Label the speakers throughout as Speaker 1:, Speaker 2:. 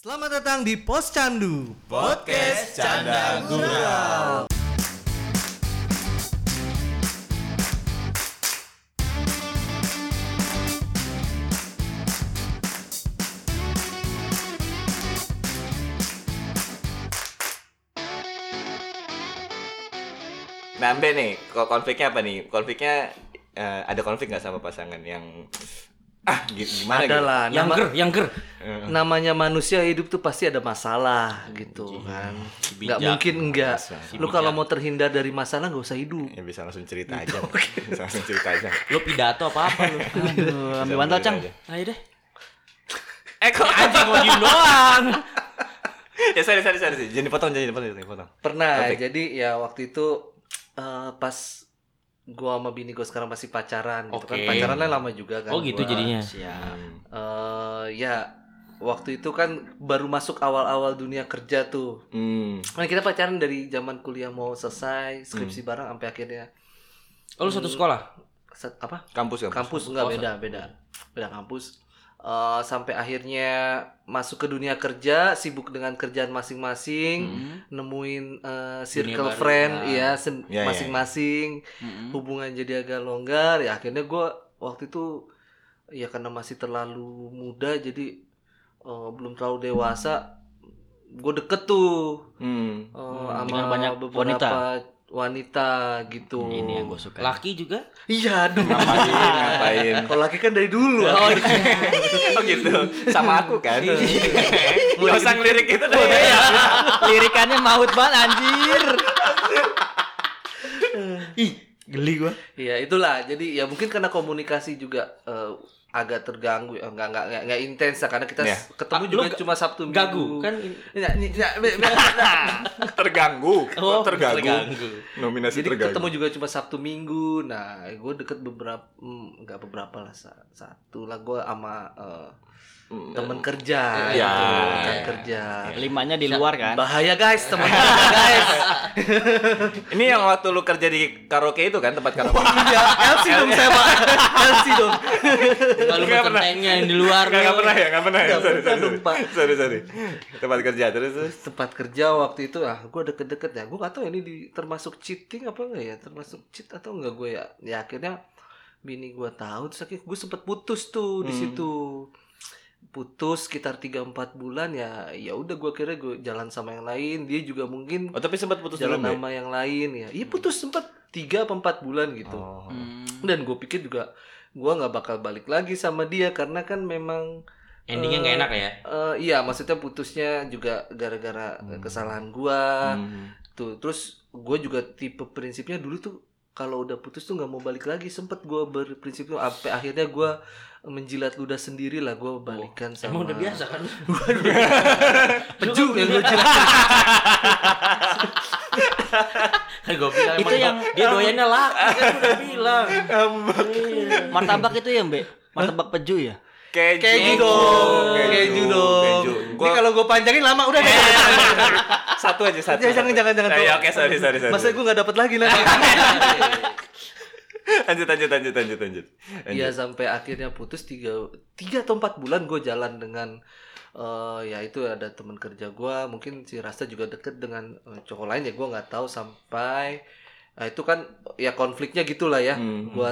Speaker 1: Selamat datang di Pos Candu.
Speaker 2: Podcast Canda Gurau. Nambe Nah, nih, kok konfliknya apa nih? Konfliknya eh, ada konflik nggak sama pasangan yang ah gi- gimana gitu?
Speaker 1: Adalah
Speaker 3: yang
Speaker 1: nama-
Speaker 3: ger, yang ger.
Speaker 1: namanya manusia hidup tuh pasti ada
Speaker 3: Hmm,
Speaker 1: masalah gitu
Speaker 3: iya.
Speaker 1: kan. Nggak
Speaker 2: Bijak.
Speaker 1: mungkin enggak.
Speaker 2: Si
Speaker 1: Lu kalau mau terhindar dari masalah nggak usah
Speaker 3: Iya.
Speaker 1: hidup.
Speaker 2: Ya bisa langsung cerita aja. Bisa langsung cerita aja.
Speaker 3: Lu pidato apa apa lu? Aduh, ambil bantal, Cang.
Speaker 2: aja.
Speaker 3: Ayo deh. Eh kok anjing mau diem doang.
Speaker 2: ya sorry sorry sorry jangan dipotong jangan dipotong jangan dipotong
Speaker 1: Pernah.
Speaker 2: Topik.
Speaker 1: Jadi ya waktu itu eh, pas gua sama bini gua sekarang masih pacaran gitu kan.
Speaker 3: Oke.
Speaker 1: Pacarannya lama juga kan.
Speaker 3: Oh gitu
Speaker 1: gua.
Speaker 3: jadinya.
Speaker 1: Eh, ya waktu itu kan baru masuk awal-awal dunia kerja tuh.
Speaker 2: hmm
Speaker 1: Kan kita pacaran dari zaman kuliah mau selesai, skripsi bareng sampai akhirnya
Speaker 3: Oh lu satu sekolah?
Speaker 1: set- apa?
Speaker 2: kampus kampus
Speaker 1: kampus enggak
Speaker 3: Oh,
Speaker 1: beda beda beda kampus Eh, sampai akhirnya masuk ke dunia kerja sibuk dengan kerjaan masing-masing
Speaker 3: Hmm.
Speaker 1: nemuin eh, circle
Speaker 3: baru,
Speaker 1: friend
Speaker 3: nah.
Speaker 1: iya sen-
Speaker 2: Hmm. Ya, Hmm. ya, ya.
Speaker 1: masing-masing hubungan jadi agak longgar ya akhirnya gua waktu itu ya karena masih terlalu muda jadi eh, belum terlalu dewasa gue deket tuh
Speaker 2: hmm
Speaker 1: eh, sama
Speaker 3: dengan banyak
Speaker 1: beberapa wanita gitu
Speaker 3: Ini yang gue suka. Laki juga?
Speaker 1: iya aduh
Speaker 2: ngapain ngapain
Speaker 1: kalau laki kan dari dulu
Speaker 3: Oh
Speaker 1: aku.
Speaker 3: iya.
Speaker 2: oh gitu sama aku kan nggak usah ngelirik itu deh
Speaker 3: Lirikannya maut banget anjir. Ih, geli gua.
Speaker 1: Iya itulah jadi ya mungkin karena komunikasi juga eh, agak terganggu eh, nggak nggak nggak, nggak intens lah, karena kita
Speaker 2: Iya.
Speaker 1: s- ketemu
Speaker 3: Ah, lu
Speaker 1: juga
Speaker 3: ga-
Speaker 1: cuma Sabtu Minggu
Speaker 3: Gagu kan ini-
Speaker 1: Nggak, nyi- nggak, be- be-
Speaker 2: terganggu
Speaker 3: Oh,
Speaker 2: terganggu
Speaker 3: terganggu.
Speaker 2: nominasi
Speaker 1: jadi
Speaker 2: terganggu
Speaker 1: ketemu juga cuma Sabtu Minggu nah gue deket beberapa hmm, nggak beberapa lah sa- satu lah gue sama eh,
Speaker 2: Hmm.
Speaker 1: temen kerja
Speaker 2: Iya.
Speaker 1: gitu, rekan
Speaker 2: Iya.
Speaker 1: kerja
Speaker 3: Limanya di luar kan?
Speaker 1: bahaya guys temen kerja guys
Speaker 2: ini yang waktu lu kerja di karaoke itu kan tempat karaoke
Speaker 1: iya LC dong saya pak LC dong
Speaker 3: Kalau
Speaker 2: Nggak pernah.
Speaker 3: bertanya yang di luar.
Speaker 2: Nggak, nggak
Speaker 3: lu.
Speaker 2: pernah ya nggak pernah ya
Speaker 1: Nggak
Speaker 2: sorry
Speaker 1: pernah
Speaker 2: sorry
Speaker 1: dong, Pak.
Speaker 2: sorry. sorry sorry tempat kerja terus terus
Speaker 1: tempat kerja waktu itu ah gue deket-deket ya gue gak tahu ini di, termasuk cheating apa enggak ya termasuk cheat atau enggak gue ya ya akhirnya bini gue tahu terus akhirnya gue sempet putus tuh di
Speaker 2: Hmm.
Speaker 1: situ putus sekitar 3-4 bulan ya ya udah gue kira gue jalan sama yang lain dia juga mungkin
Speaker 2: oh tapi sempat putus
Speaker 1: jalan
Speaker 2: dulu Mbak?
Speaker 1: sama yang lain ya iya putus sempet 3 empat bulan gitu
Speaker 2: Oh.
Speaker 3: Hmm.
Speaker 1: dan gue pikir juga gue nggak bakal balik lagi sama dia karena kan memang
Speaker 3: Endingnya nggak enak ya?
Speaker 1: Eh, iya, maksudnya putusnya juga gara-gara eh, kesalahan gua
Speaker 2: Hmm.
Speaker 1: tuh. Terus gua juga tipe prinsipnya dulu tuh kalau udah putus tuh nggak mau balik lagi. Sempet gua berprinsip tuh sampai akhirnya gua menjilat ludah sendiri lah gua
Speaker 2: Oh,
Speaker 1: balikan sama.
Speaker 3: Emang udah biasa kan?
Speaker 1: Peju yang gua jilat.
Speaker 3: Gue bilang itu yang dia doyannya laki kan udah bilang. Martabak itu ya, Mbak? Martabak peju ya?
Speaker 2: Keju,
Speaker 1: Keju dong. Keju dong.
Speaker 2: Keju.
Speaker 1: Ini
Speaker 2: Gua-
Speaker 1: kalau gua panjangin lama udah deh.
Speaker 2: satu aja satu.
Speaker 1: Jangan, jangan, jangan, jangan.
Speaker 2: Eh, ya, Oke, sorry, sorry, sorry.
Speaker 1: Masa gua nggak dapat lagi nanti.
Speaker 2: lanjut, lanjut, lanjut, lanjut, lanjut.
Speaker 1: Iya sampai akhirnya putus tiga tiga atau empat bulan gue jalan dengan eh, ya itu ada teman kerja gue mungkin si Rasta juga deket dengan eh, cowok lain ya gue nggak tahu sampai nah, itu kan ya konfliknya gitulah ya
Speaker 2: Hmm,
Speaker 1: gue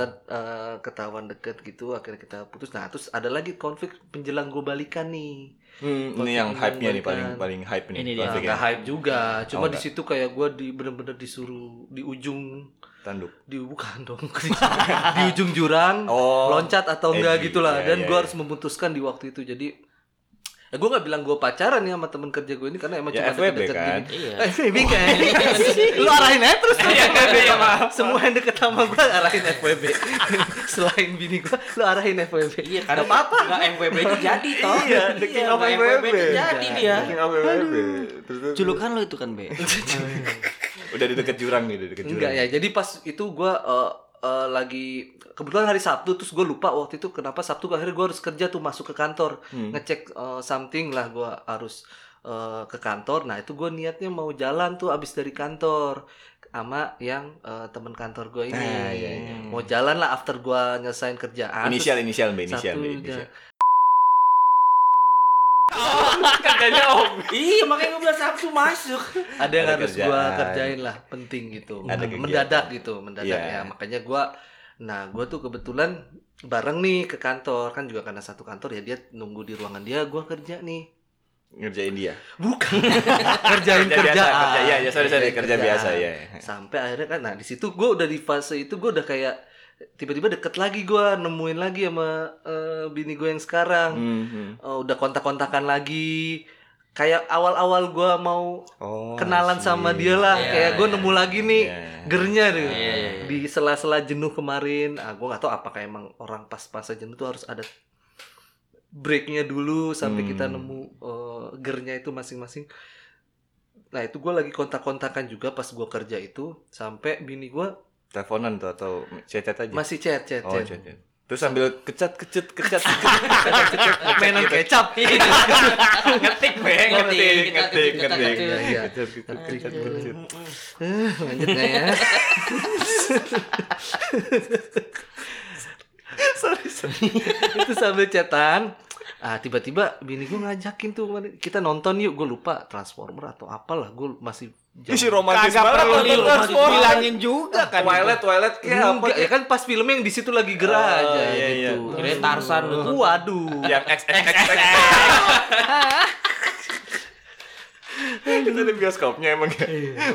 Speaker 1: ketahuan deket gitu akhirnya kita putus nah terus ada lagi konflik penjelang gue balikan nih
Speaker 2: Hmm, ini
Speaker 1: Konflik
Speaker 2: yang
Speaker 1: yang
Speaker 2: hype-nya nih paling
Speaker 1: mengembangkan.
Speaker 2: paling hype nih
Speaker 3: Ini dia.
Speaker 1: Nah,
Speaker 2: konfliknya.
Speaker 1: nggak hype juga
Speaker 2: ya? Oh,
Speaker 1: cuma di
Speaker 2: nggak.
Speaker 1: situ kayak gue di bener-bener disuruh di ujung
Speaker 2: Tanduk.
Speaker 1: di bukan dong di ujung jurang
Speaker 2: Oh.
Speaker 1: loncat atau
Speaker 2: Eh,
Speaker 1: enggak
Speaker 2: iya,
Speaker 1: gitu lah
Speaker 2: iya,
Speaker 1: dan
Speaker 2: iya,
Speaker 1: gue
Speaker 2: iya.
Speaker 1: harus memutuskan di waktu itu jadi ya gue nggak bilang gue pacaran ya sama temen kerja gue ini karena emang
Speaker 2: Ya,
Speaker 1: cuma
Speaker 2: FWB
Speaker 1: deket-deket
Speaker 2: kan?
Speaker 1: gini.
Speaker 3: Iya.
Speaker 1: FWB kan lu arahin aja terus
Speaker 2: Iya, iya, iya, maaf.
Speaker 1: semua yang deket sama gue arahin FWB selain bini gue lu arahin FWB
Speaker 3: Iya,
Speaker 1: Nggak
Speaker 3: karena
Speaker 1: apa-apa
Speaker 3: Enggak FWB itu jadi toh.
Speaker 2: Iya, the king of
Speaker 3: nggak
Speaker 2: FWB.
Speaker 3: itu jadi dia.
Speaker 2: King of FWB. Terus, terus.
Speaker 3: Julukan lo itu kan, Be.
Speaker 2: Udah di deket jurang nih, udah deket jurang.
Speaker 1: enggak ya jadi pas itu gue eh, eh, lagi kebetulan hari Sabtu terus gue lupa waktu itu kenapa Sabtu akhirnya gue harus kerja tuh masuk ke kantor
Speaker 2: Hmm.
Speaker 1: ngecek eh, something lah gue harus eh, ke kantor nah itu gue niatnya mau jalan tuh abis dari kantor sama yang eh, temen kantor gue ini
Speaker 2: Ah, iya, iya.
Speaker 1: mau jalan lah after gue nyelesain kerjaan
Speaker 2: Inisial, inisial, Mbak,
Speaker 1: Terus
Speaker 2: inisial,
Speaker 1: satu
Speaker 2: Mbak,
Speaker 1: udah.
Speaker 2: inisial. Kerjanya om.
Speaker 3: iya makanya gue bilang Sabtu masuk
Speaker 1: ada yang
Speaker 2: Ada
Speaker 1: harus
Speaker 2: kerjaan.
Speaker 1: gua kerjain lah penting gitu
Speaker 2: Ada kegiatan.
Speaker 1: mendadak gitu mendadak
Speaker 2: Iya.
Speaker 1: ya makanya gua nah gua tuh kebetulan bareng nih ke kantor kan juga karena satu kantor ya dia nunggu di ruangan dia gua kerja nih
Speaker 2: Ngerjain dia.
Speaker 1: bukan kerjain
Speaker 2: Kerja biasa,
Speaker 1: kerjaan
Speaker 2: kerja ya, ya sorry sorry,
Speaker 1: Kerjain
Speaker 2: kerja
Speaker 1: kerjaan.
Speaker 2: biasa ya.
Speaker 1: sampai akhirnya kan nah di situ gua udah di fase itu gua udah kayak tiba-tiba deket lagi gua nemuin lagi sama eh, bini gue yang sekarang
Speaker 2: Hmm.
Speaker 1: Eh, udah kontak-kontakan lagi kayak awal-awal gua mau
Speaker 2: Oh,
Speaker 1: kenalan
Speaker 2: I see.
Speaker 1: sama dia lah
Speaker 3: Iya,
Speaker 1: kayak gue
Speaker 3: iya.
Speaker 1: nemu lagi nih
Speaker 2: Iya.
Speaker 1: gernya tuh
Speaker 3: Iya, iya, iya.
Speaker 1: di sela-sela jenuh kemarin ah gue nggak tahu apakah emang orang pas-pasan jenuh tuh harus ada breaknya dulu sampai
Speaker 2: Hmm.
Speaker 1: kita nemu eh, gernya itu masing-masing nah itu gue lagi kontak-kontakan juga pas gue kerja itu sampai bini gue
Speaker 2: Teleponan tuh atau chat chat aja.
Speaker 1: masih chat chat
Speaker 2: oh,
Speaker 1: chat
Speaker 2: chat chat. Terus sambil kecat kecut kecat
Speaker 1: mainan kecap
Speaker 3: Iya.
Speaker 2: ngetik beng ngetik ngetik
Speaker 3: Ngetik, kecat,
Speaker 2: ngetik
Speaker 3: kecut.
Speaker 1: Iya.
Speaker 2: kecut kecut kecut kecut.
Speaker 1: Eh, lanjut nggak ya
Speaker 2: Sorry sorry.
Speaker 1: itu sambil chatan ah tiba-tiba bini gue ngajakin tuh kemarin, kita nonton yuk gue lupa transformer atau apalah gue masih jam-
Speaker 2: Ih, si romantis
Speaker 3: Kagak
Speaker 2: banget
Speaker 3: perlu
Speaker 2: nonton
Speaker 3: di-
Speaker 2: Transformers.
Speaker 3: bilangin juga kan
Speaker 2: Twilight Twilight kayak apa gitu?
Speaker 1: Enggak, ya kan pas filmnya yang di situ lagi gerah
Speaker 2: Oh,
Speaker 1: aja
Speaker 2: iya, Ya, iya.
Speaker 1: gitu.
Speaker 3: Kirain Tarzan lu tuh.
Speaker 1: Waduh.
Speaker 2: yang X X X X. Itu ada bioskopnya emang ya.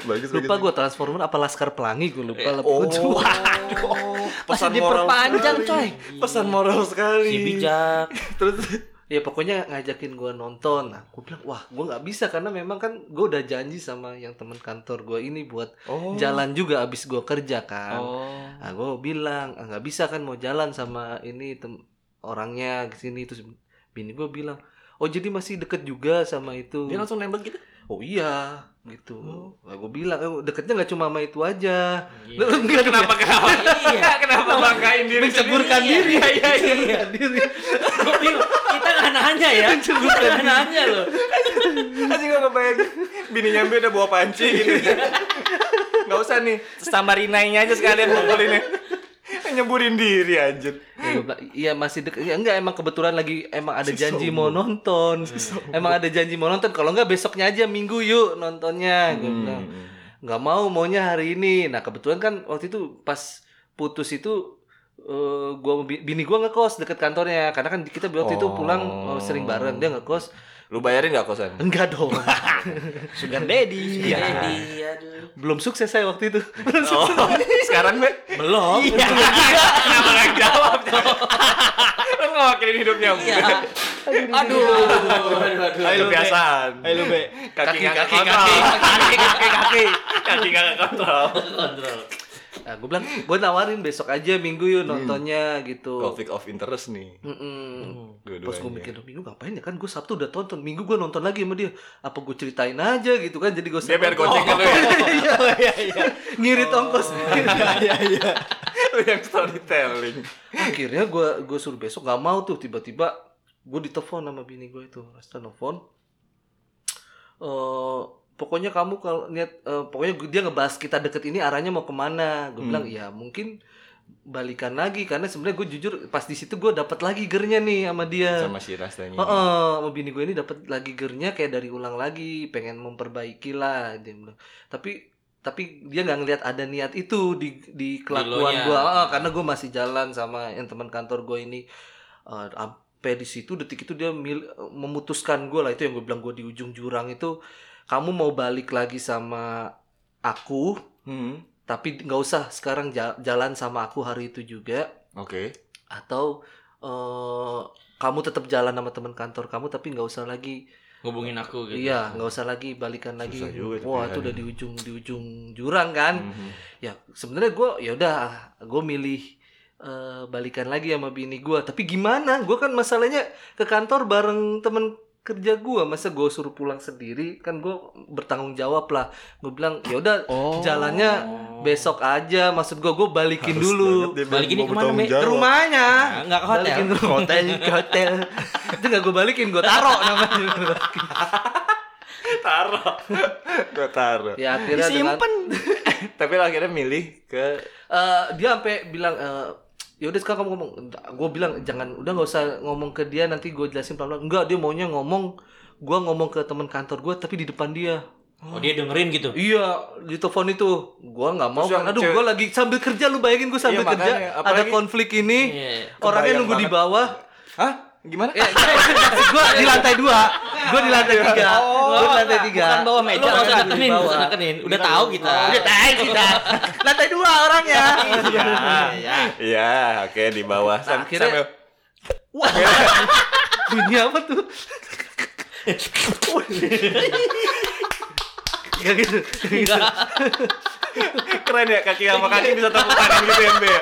Speaker 2: Bagus
Speaker 1: Lupa gue Transformer apa Laskar Pelangi gue lupa lah.
Speaker 2: gitu, Oh,
Speaker 1: Gua-
Speaker 2: waduh.
Speaker 4: Masih diperpanjang,
Speaker 2: sekali. Pesan moral sekali.
Speaker 3: si bijak
Speaker 2: Terus
Speaker 1: ya pokoknya ngajakin gue nonton. Nah, gue bilang, "Wah, gue nggak bisa karena memang kan gue udah janji sama yang teman kantor gue ini buat
Speaker 2: oh.
Speaker 1: jalan juga abis gue kerja kan."
Speaker 3: oh
Speaker 1: Nah, gue bilang "Ah, nggak bisa kan mau jalan sama ini tem- orangnya ke sini terus bini gue bilang oh jadi masih deket juga sama itu
Speaker 3: dia langsung nembak gitu
Speaker 1: oh iya gitu nah, gue bilang "Eh, deketnya nggak cuma sama itu aja
Speaker 3: Gila.
Speaker 1: Lu- nggak
Speaker 2: Kenapa kenapa?
Speaker 3: Iya.
Speaker 2: Kenapa banggain diri
Speaker 1: menceburkan
Speaker 3: Iya,
Speaker 1: diri
Speaker 3: iya, iya, iya.
Speaker 1: Menceburkan diri
Speaker 3: Gokil. kita nggak nanya ya kita nggak nanya loh
Speaker 2: Aja gak ngebayangin Bini nyampe udah bawa panci gitu Gak usah nih Sama rinainya aja sekalian
Speaker 3: Iya.
Speaker 2: pukulinnya Nyeburin diri anjir
Speaker 1: Ya, gua bilang, iya masih deket ya enggak emang kebetulan lagi emang ada janji mau nonton emang ada janji mau nonton kalau enggak besoknya aja minggu yuk nontonnya
Speaker 3: Hmm.
Speaker 1: Gua bilang. nggak mau maunya hari ini nah kebetulan kan waktu itu pas putus itu eh, gua bini gua ngekos deket kantornya karena kan kita waktu itu pulang eh,
Speaker 2: Oh.
Speaker 1: sering bareng dia ngekos
Speaker 2: Lu bayarin gak kosan?
Speaker 1: enggak dong
Speaker 3: sugar daddy
Speaker 2: Iya.
Speaker 3: daddy aduh
Speaker 1: belum sukses saya waktu itu Iya.
Speaker 2: Oh, sekarang be
Speaker 3: belum
Speaker 2: Kenapa gak jawab? Lu ngewakilin hidupnya
Speaker 3: iya aduh aduh aduh aduh
Speaker 2: Ayo kebiasaan Ayo lu be Kaki
Speaker 1: Kaki,
Speaker 2: gak
Speaker 1: kaki,
Speaker 2: kontrol Kaki kaki kaki Kaki gak kontrol
Speaker 3: kontrol
Speaker 1: nah, gue bilang gue nawarin besok aja minggu
Speaker 2: Hmm.
Speaker 1: yuk nontonnya gitu
Speaker 2: Conflict of interest nih
Speaker 1: Mm-mm. Terus gue
Speaker 2: Oh, Dua-duanya
Speaker 1: mikir, "Duh, minggu ngapain ya kan gue Sabtu udah tonton, minggu gue nonton lagi sama dia. Apa gue ceritain aja gitu kan, jadi gue
Speaker 2: Dia biar goceng ke lu ya
Speaker 1: iya.
Speaker 2: iya, Oh.
Speaker 1: ngirit ongkos.
Speaker 2: Lu yang storytelling
Speaker 1: Akhirnya gue gue suruh besok nggak mau tuh, tiba-tiba gue ditelepon sama bini gue itu, Rasta nelfon. Eh, pokoknya kamu kalau niat, eh, pokoknya dia ngebahas kita deket ini arahnya mau kemana? Gue bilang, ya mungkin balikan lagi karena sebenarnya gue jujur pas di situ gue dapat lagi gernya nih sama dia.
Speaker 2: Sama si rasanya
Speaker 1: Heeh,
Speaker 3: Hmm.
Speaker 1: sama bini gue ini dapat lagi gernya kayak dari ulang lagi, pengen memperbaiki lah dia bilang. Tapi tapi dia nggak ngelihat ada niat itu di di kelakuan
Speaker 3: Di lo-nya.
Speaker 1: gue, Heeh, karena gue masih jalan sama yang teman kantor gue ini. Eh, sampai di situ detik itu dia mil- memutuskan gue lah itu yang gue bilang gue di ujung jurang itu kamu mau balik lagi sama aku
Speaker 2: Hmm.
Speaker 1: tapi nggak usah sekarang ja- jalan sama aku hari itu juga
Speaker 2: Oke.
Speaker 1: atau eh, kamu tetap jalan sama teman kantor kamu tapi nggak usah lagi
Speaker 3: ngubungin aku gitu
Speaker 1: iya nggak usah lagi balikan lagi
Speaker 2: Susah juga itu
Speaker 1: wah itu
Speaker 2: pilihannya.
Speaker 1: udah di ujung di ujung jurang kan
Speaker 2: Mhm.
Speaker 1: ya sebenarnya gue ya udah gue milih eh, balikan lagi sama bini gue tapi gimana gue kan masalahnya ke kantor bareng temen kerja gue masa gue suruh pulang sendiri kan gue bertanggung jawab lah gue bilang ya udah
Speaker 2: Oh.
Speaker 1: jalannya besok aja maksud gue gue balikin
Speaker 2: Harus
Speaker 1: dulu
Speaker 2: banget dia
Speaker 3: Balik ini
Speaker 2: mau
Speaker 3: kemana,
Speaker 2: bertanggung
Speaker 3: Be? Ke
Speaker 1: ke
Speaker 2: jawab.
Speaker 1: rumahnya
Speaker 3: Nah, nggak ke hotel.
Speaker 1: Balikin ke rumah. hotel ke hotel itu nggak gue balikin gue taruh namanya
Speaker 2: Taruh. Gua taruh.
Speaker 1: ya akhirnya dengan-
Speaker 2: Tapi lo akhirnya milih ke
Speaker 1: Eh, dia sampai bilang eh, ya udah sekarang kamu ngomong gue bilang jangan udah nggak usah ngomong ke dia nanti gue jelasin pelan pelan enggak dia maunya ngomong gue ngomong ke teman kantor gue tapi di depan dia
Speaker 3: Oh dia dengerin gitu.
Speaker 1: Iya, di telepon itu. Gua nggak mau kan.
Speaker 2: Terus yang
Speaker 1: Aduh,
Speaker 2: cewek-
Speaker 1: gua lagi sambil kerja lu bayangin gua sambil
Speaker 2: Iya,
Speaker 1: kerja
Speaker 2: makanya.
Speaker 1: ada
Speaker 2: Apalagi-
Speaker 1: konflik ini.
Speaker 3: Iya.
Speaker 1: Orangnya
Speaker 2: Kebayang
Speaker 1: nunggu di
Speaker 2: banget.
Speaker 1: bawah.
Speaker 2: Hah? Gimana?
Speaker 1: Eh, maksud gua di lantai dua, gua di lantai tiga, gua di lantai tiga.
Speaker 3: Iya. Oh, Bukan bawah meja,
Speaker 1: Lu nggak
Speaker 3: nggak usah
Speaker 1: usah
Speaker 3: nekenin,
Speaker 1: dibawa.
Speaker 3: nggak usah nekenin. Udah tahu kita.
Speaker 1: Udah tahu kita. Lantai dua orangnya.
Speaker 3: Iya.
Speaker 2: Iya, oke di bawah. Sam-
Speaker 1: akhirnya-
Speaker 2: sambil-
Speaker 1: Bunyi apa tuh? Gak gitu. Gak gitu.
Speaker 2: keren ya kaki sama kaki bisa tepuk tangan gitu ya, Mbe.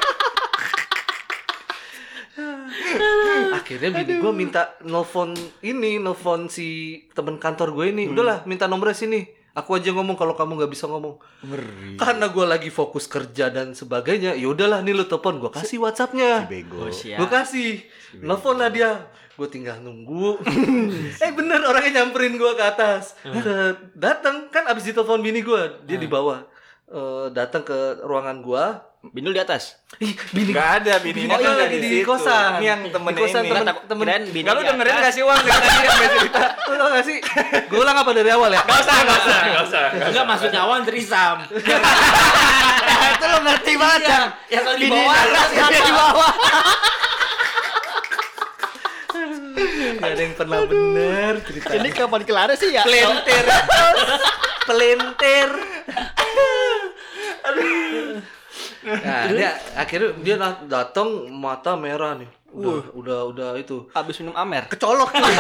Speaker 1: akhirnya bini gue minta nelfon ini nelfon si temen kantor gue
Speaker 3: Hmm.
Speaker 1: ini udahlah minta nomornya sini aku aja ngomong kalau kamu nggak bisa ngomong karena gue lagi fokus kerja dan sebagainya ya udahlah nih lu telepon gue kasih whatsappnya
Speaker 2: Bego.
Speaker 3: Oh, siap.
Speaker 1: gue kasih
Speaker 2: Iya.
Speaker 1: nelfon lah dia gue tinggal nunggu eh bener orangnya nyamperin gue ke atas Ke- datang kan abis ditelepon bini gue dia di bawah Eh, datang ke ruangan gue
Speaker 3: Bindul di atas.
Speaker 1: ih bini
Speaker 2: Gak ada
Speaker 1: Oh,
Speaker 2: bininya kan
Speaker 1: iya,
Speaker 2: dari
Speaker 1: di
Speaker 2: situ.
Speaker 1: kosan.
Speaker 2: Ini yang
Speaker 1: Di
Speaker 2: temennya
Speaker 1: kosan
Speaker 2: ini.
Speaker 1: temen-
Speaker 3: Nggak, tak-
Speaker 1: temen-
Speaker 3: kirain bini
Speaker 2: Kalau
Speaker 3: di
Speaker 2: dengerin
Speaker 3: atas.
Speaker 2: kasih uang dari tadi sampai cerita.
Speaker 1: Lu tau gak sih? Gue ulang apa dari awal ya?
Speaker 2: Gak usah, gak usah, gak usah.
Speaker 3: Enggak maksudnya awan trisam.
Speaker 1: itu lo ngerti banget Cang.
Speaker 3: Ya kalau di
Speaker 1: Bini
Speaker 3: bawah
Speaker 1: di atas,
Speaker 3: siapa?
Speaker 1: bini di bawah. Gak ada yang pernah bener ceritanya.
Speaker 3: kapan kelar sih ya?
Speaker 1: Pelentir. Pelentir. Nah, dia akhirnya dia dat- datang mata merah nih. Udah, udah, udah itu.
Speaker 3: Abis minum amer.
Speaker 1: Kecolok cuy.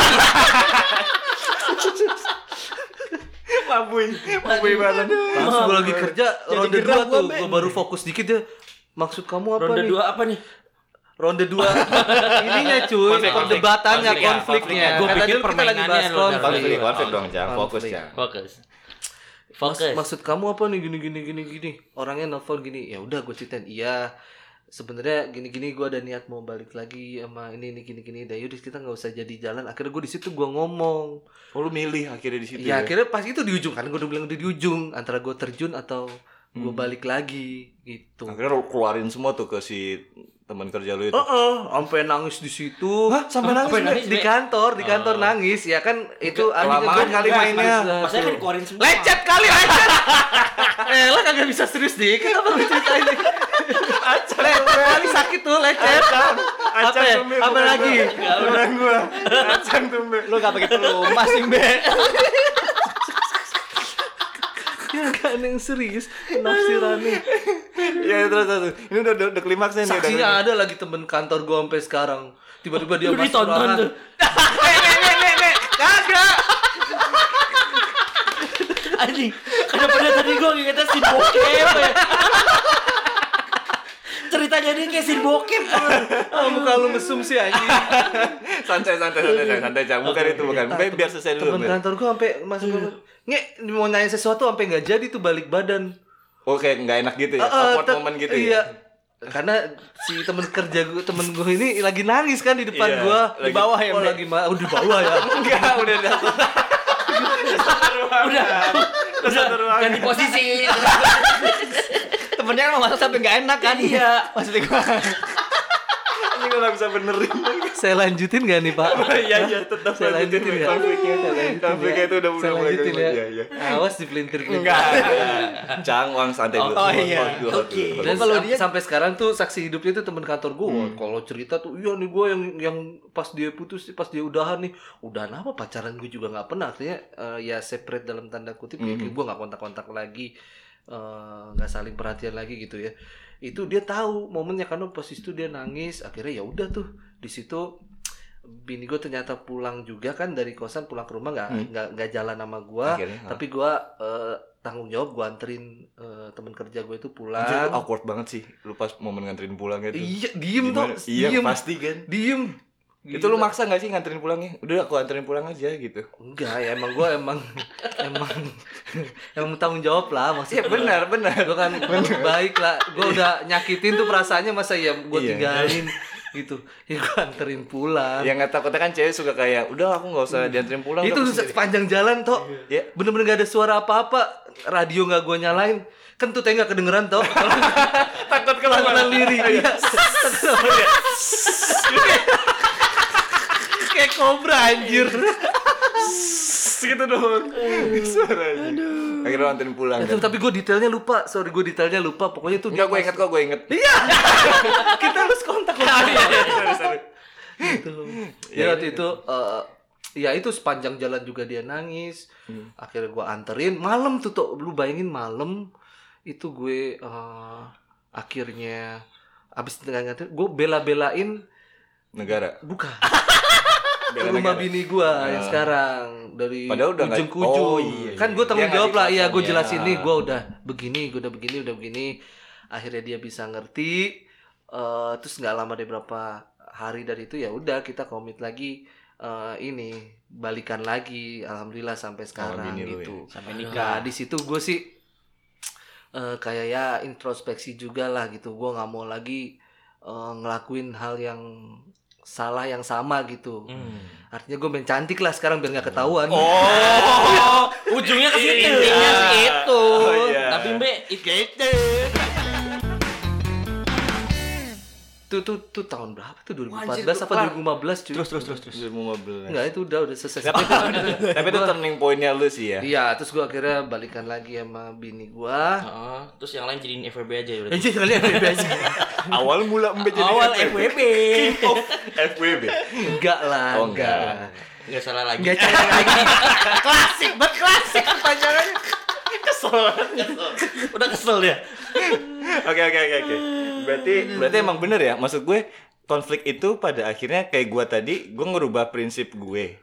Speaker 2: Mabui, mabui bareng.
Speaker 1: Pas gue lagi kerja
Speaker 3: Jadi
Speaker 1: ronde 2 tuh,
Speaker 3: gerak gua, Be.
Speaker 1: gue baru fokus dikit dia. Maksud kamu apa
Speaker 3: Ronde
Speaker 1: nih?
Speaker 3: dua apa nih?
Speaker 1: ronde dua ininya cuy
Speaker 2: Konflik,
Speaker 1: perdebatannya
Speaker 2: konflik.
Speaker 1: konfliknya
Speaker 3: Konflik.
Speaker 1: Karena
Speaker 3: Gua pikir
Speaker 1: tadi kita lagi
Speaker 3: permainannya
Speaker 1: bahas
Speaker 3: lu udah
Speaker 1: konflik.
Speaker 2: Konflik, konflik dong, Jang. Fokus,
Speaker 1: Konflik.
Speaker 2: Jang.
Speaker 3: Fokus. Fokus.
Speaker 1: maksud kamu apa nih gini gini gini gini orangnya nelfon gini ya udah gue ceritain iya sebenarnya gini gini gue ada niat mau balik lagi sama ini ini gini gini dah yaudah kita nggak usah jadi jalan akhirnya gue di situ gue ngomong
Speaker 2: Oh, lu milih akhirnya di situ.
Speaker 1: ya akhirnya pas itu di ujung kan gue udah bilang udah di ujung antara gue terjun atau gue
Speaker 2: Hmm.
Speaker 1: balik lagi gitu
Speaker 2: Akhirnya lu keluarin semua tuh ke si teman kerja lu itu.
Speaker 1: Oh, oh, sampai nangis di situ.
Speaker 2: Hah, sampai nangis, Oh.
Speaker 1: Sampai
Speaker 3: Mbak?
Speaker 1: di kantor, di kantor nangis ya kan itu artinya
Speaker 2: kelamaan
Speaker 1: gua-
Speaker 2: kali
Speaker 1: Nah,
Speaker 2: mainnya.
Speaker 1: bisa.
Speaker 3: Maksudnya kan dikeluarin semua.
Speaker 1: Lecet kali lecet. eh, lo kagak bisa serius dik. Kenapa lu ceritain dik? Lecet kali sakit tuh lecet. Apa ya?
Speaker 2: Tumbe,
Speaker 1: Apa
Speaker 2: bukan
Speaker 1: lagi?
Speaker 2: gua. Bukan gua. Acan tumbe.
Speaker 3: Lu gak pakai pelumas sih, Be.
Speaker 1: Ya kan yang serius penafsirannya.
Speaker 2: Ya terus terus. Ini udah udah udah klimaksnya nih.
Speaker 1: Saksinya ada lagi temen kantor gua sampai sekarang. Tiba-tiba dia
Speaker 3: Lu
Speaker 1: masuk
Speaker 3: ditonton
Speaker 1: ruangan.
Speaker 3: tuh.
Speaker 1: Eh, eh, eh, eh, eh, Kagak.
Speaker 3: Anjing. Kenapa dari tadi gua ngingetnya si bokep ya? Ceritanya dia kayak si bokep.
Speaker 1: Ah, muka lu mesum sih anjing.
Speaker 2: Santai santai santai santai santai Jang. Bukan itu bukan. Biar biar selesai dulu.
Speaker 1: temen
Speaker 2: Mel.
Speaker 1: kantor gua sampai masuk ruangan, ngek mau nanya sesuatu sampai nggak jadi tuh balik badan
Speaker 2: Oke, nggak enak gitu ya.
Speaker 1: Eh, eh,
Speaker 2: Awkward
Speaker 1: tet-
Speaker 2: moment gitu
Speaker 1: iya
Speaker 2: ya.
Speaker 1: karena si temen kerja gue temen gue ini lagi nangis kan di depan
Speaker 2: Iya,
Speaker 1: gua
Speaker 2: Di lagi- bawah ya,
Speaker 1: oh,
Speaker 2: Mbak?
Speaker 1: lagi ma- oh, di bawah ya
Speaker 2: Enggak, udah datang.
Speaker 3: Udah. Udah. Ganti posisi.
Speaker 4: temennya emang masak sampai nggak enak kan
Speaker 3: Iya.
Speaker 4: maksudnya gua
Speaker 2: Ini gua nggak bisa benerin.
Speaker 1: saya lanjutin gak nih pak
Speaker 2: Iya iya, tetap
Speaker 1: saya lanjutin ya
Speaker 2: lanjutin konfliknya.
Speaker 1: Saya lanjutin ya?
Speaker 2: Konfliknya itu udah
Speaker 1: saya
Speaker 2: mulai- mulai-
Speaker 1: lanjutin ya
Speaker 2: iya, iya.
Speaker 1: awas dipelintir
Speaker 2: Enggak. Cang, uang santai dulu.
Speaker 4: Oh, iya.
Speaker 2: Hold dulu, hold dulu, hold
Speaker 1: Dan
Speaker 4: Kalau
Speaker 1: sam-
Speaker 4: dia- Hmm.
Speaker 1: sampai sekarang tuh saksi hidupnya tuh teman kantor gue. Kalau cerita tuh iya nih gue yang yang pas dia putus, pas dia udahan nih, udahan apa pacaran gue juga nggak pernah. Artinya eh, ya separate dalam tanda kutip, ya
Speaker 4: Hmm.
Speaker 1: kayak gue nggak kontak-kontak lagi, eh, nggak saling perhatian lagi gitu ya. Itu dia tahu momennya karena pas itu dia nangis, akhirnya ya udah tuh di situ bini gue ternyata pulang juga kan dari kosan pulang ke rumah nggak
Speaker 4: Hmm.
Speaker 1: nggak nggak jalan sama gue
Speaker 2: Akhirnya, ah.
Speaker 1: tapi gue eh, tanggung jawab gue anterin eh, teman kerja gue itu pulang
Speaker 2: Anjir, itu awkward banget sih lu pas momen nganterin pulang itu
Speaker 1: Iya, diem tuh.
Speaker 2: Gitu. Gimana? iya
Speaker 1: diem.
Speaker 2: pasti kan
Speaker 1: Diem.
Speaker 2: itu lu maksa gak sih nganterin pulangnya udah aku anterin pulang aja gitu
Speaker 1: enggak ya emang gua emang emang emang tanggung jawab lah maksudnya
Speaker 2: benar benar
Speaker 1: Iya. gua kan baik lah gua udah nyakitin tuh perasaannya masa ya gua
Speaker 2: Iya.
Speaker 1: tinggalin gitu ya gue anterin pulang
Speaker 2: Yang nggak takutnya kan cewek suka kayak, udah aku nggak usah dianterin pulang.
Speaker 1: Ah. Hmm. itu
Speaker 2: udah aku sendiri."
Speaker 1: sepanjang jalan toh
Speaker 2: Iya.
Speaker 1: bener-bener gak ada suara apa-apa radio nggak gue nyalain kentutnya nggak kedengeran toh
Speaker 2: takut
Speaker 1: tangan
Speaker 2: kemana?
Speaker 1: liri Iya. kayak kobra anjir
Speaker 2: gitu dong. Suaranya. Akhirnya lo anterin pulang.
Speaker 1: Itu,
Speaker 2: Kan?
Speaker 1: tapi gue detailnya lupa sorry gue detailnya lupa pokoknya itu
Speaker 2: Enggak, gue inget kok, gue inget.
Speaker 1: kita harus kontak lagi
Speaker 2: Sorry, sorry.
Speaker 1: gitu ya waktu itu eh, ya itu sepanjang jalan juga dia nangis akhirnya gua anterin malam tuh tuh lu bayangin malam itu gue eh, akhirnya abis tengah nganter gue bela-belain
Speaker 2: Negara.
Speaker 1: buka ke
Speaker 2: Bela
Speaker 1: rumah
Speaker 2: negara.
Speaker 1: bini gua
Speaker 2: Ya.
Speaker 1: yang sekarang dari
Speaker 2: Padahal udah nggak-
Speaker 1: ujung ke ujung
Speaker 2: Oh, iya, iya.
Speaker 1: kan gue tanggung
Speaker 2: Dia nggak
Speaker 1: jawab lah iya gue
Speaker 2: dipaksa,
Speaker 1: jelasin
Speaker 2: ya.
Speaker 1: nih gue udah begini gue udah begini udah begini akhirnya dia bisa ngerti Eh, terus nggak lama deh berapa hari dari itu ya udah kita komit lagi eh, ini balikan lagi alhamdulillah sampai sekarang
Speaker 2: bini lu ya.
Speaker 1: gitu
Speaker 3: sampai
Speaker 1: Nah,
Speaker 3: nikah
Speaker 1: di situ gue sih eh, kayak ya introspeksi juga lah gitu. Gue nggak mau lagi eh, ngelakuin hal yang salah yang sama gitu. Artinya gue main cantik lah sekarang biar nggak ketahuan.
Speaker 3: oh ujungnya ke situ
Speaker 2: Intinya sih
Speaker 3: itu
Speaker 2: Oh, iya.
Speaker 3: tapi mbak itu
Speaker 1: Itu tuh, tuh tahun berapa tuh 2014
Speaker 3: Anjir, tuh,
Speaker 1: apa
Speaker 3: kelar.
Speaker 1: 2015 cuy?
Speaker 3: terus terus
Speaker 1: Enggak itu udah udah selesai.
Speaker 2: Tapi itu turning pointnya lu sih ya.
Speaker 1: Iya, terus gue akhirnya balikan lagi sama bini gue.
Speaker 3: Heeh, terus yang lain jadiin FWB aja udah.
Speaker 1: Anjir, kalian bebas.
Speaker 2: Awal mula Mbak jadi
Speaker 3: Iya. Awal FWB.
Speaker 2: Oh, FWB.
Speaker 1: Enggak lah,
Speaker 2: Oh, enggak.
Speaker 3: Enggak salah lagi.
Speaker 1: Enggak cari lagi.
Speaker 3: klasik, banget klasik pertanyaannya. kesel, kesel. Udah kesel ya.
Speaker 2: Oke oke oke oke. Berarti berarti emang bener ya. Maksud gue konflik itu pada akhirnya kayak gue tadi gue ngerubah prinsip gue.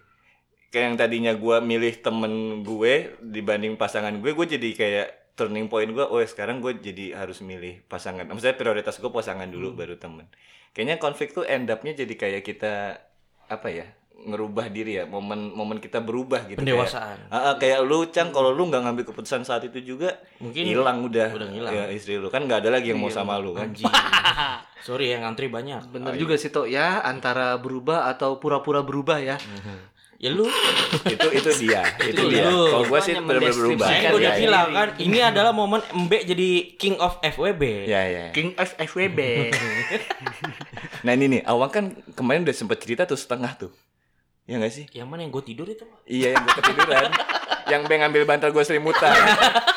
Speaker 2: Kayak yang tadinya gue milih temen gue dibanding pasangan gue, gue jadi kayak turning point gue, oh sekarang gue jadi harus milih pasangan. Maksudnya prioritas gue pasangan dulu baru temen. Kayaknya konflik tuh end up-nya jadi kayak kita apa ya ngerubah diri ya momen momen kita berubah gitu kayak-
Speaker 3: Pendewasaan.
Speaker 2: Ah, ah, kayak lu Cang kalau lu nggak ngambil keputusan saat itu juga
Speaker 3: Mungkin
Speaker 2: hilang udah
Speaker 3: udah ngilang. Iya.
Speaker 2: Ya, istri lu kan nggak ada lagi yang mau sama lu kan
Speaker 3: Anjing. Sorry ya ngantri banyak.
Speaker 1: Bener juga sih Tok ya, antara berubah atau pura-pura berubah ya.
Speaker 3: Ya lu,
Speaker 2: itu itu dia itu
Speaker 3: Itu
Speaker 2: dia
Speaker 3: lu.
Speaker 2: kalau gua sih benar-benar berubah
Speaker 3: saya
Speaker 2: ya,
Speaker 3: gua udah
Speaker 2: ya,
Speaker 3: bilang kan, ini adalah momen Mbak jadi king of FWB.
Speaker 2: ya ya
Speaker 1: King of FWB.
Speaker 2: nah ini nih awang kan kemarin udah sempet cerita tuh setengah tuh ya nggak sih
Speaker 3: Yang mana yang gue tidur itu?
Speaker 2: iya yang gua ketiduran yang beng ngambil bantal gua selimutan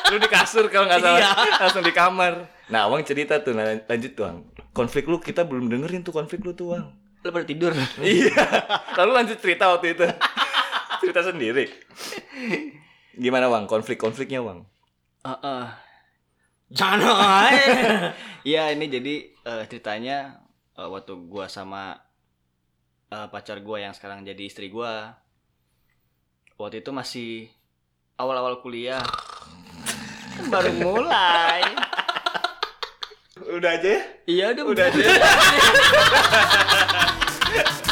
Speaker 2: lu di kasur kalau nggak salah
Speaker 3: Iya.
Speaker 2: langsung di kamar nah awang cerita tuh nah, lanjut tuh Wang. konflik lu kita belum dengerin tuh konflik lu tuh Wang.
Speaker 3: Lu pada tidur.
Speaker 2: Iya. Lalu lanjut cerita waktu itu. cerita sendiri. Gimana Wang? Konflik-konfliknya Wang?
Speaker 4: Heeh.
Speaker 3: Jangan aja.
Speaker 4: Iya ini jadi eh, ceritanya eh, waktu gua sama eh, pacar gua yang sekarang jadi istri gua waktu itu masih awal-awal kuliah Kan baru mulai
Speaker 2: Udah aja ya?
Speaker 4: iya udah udah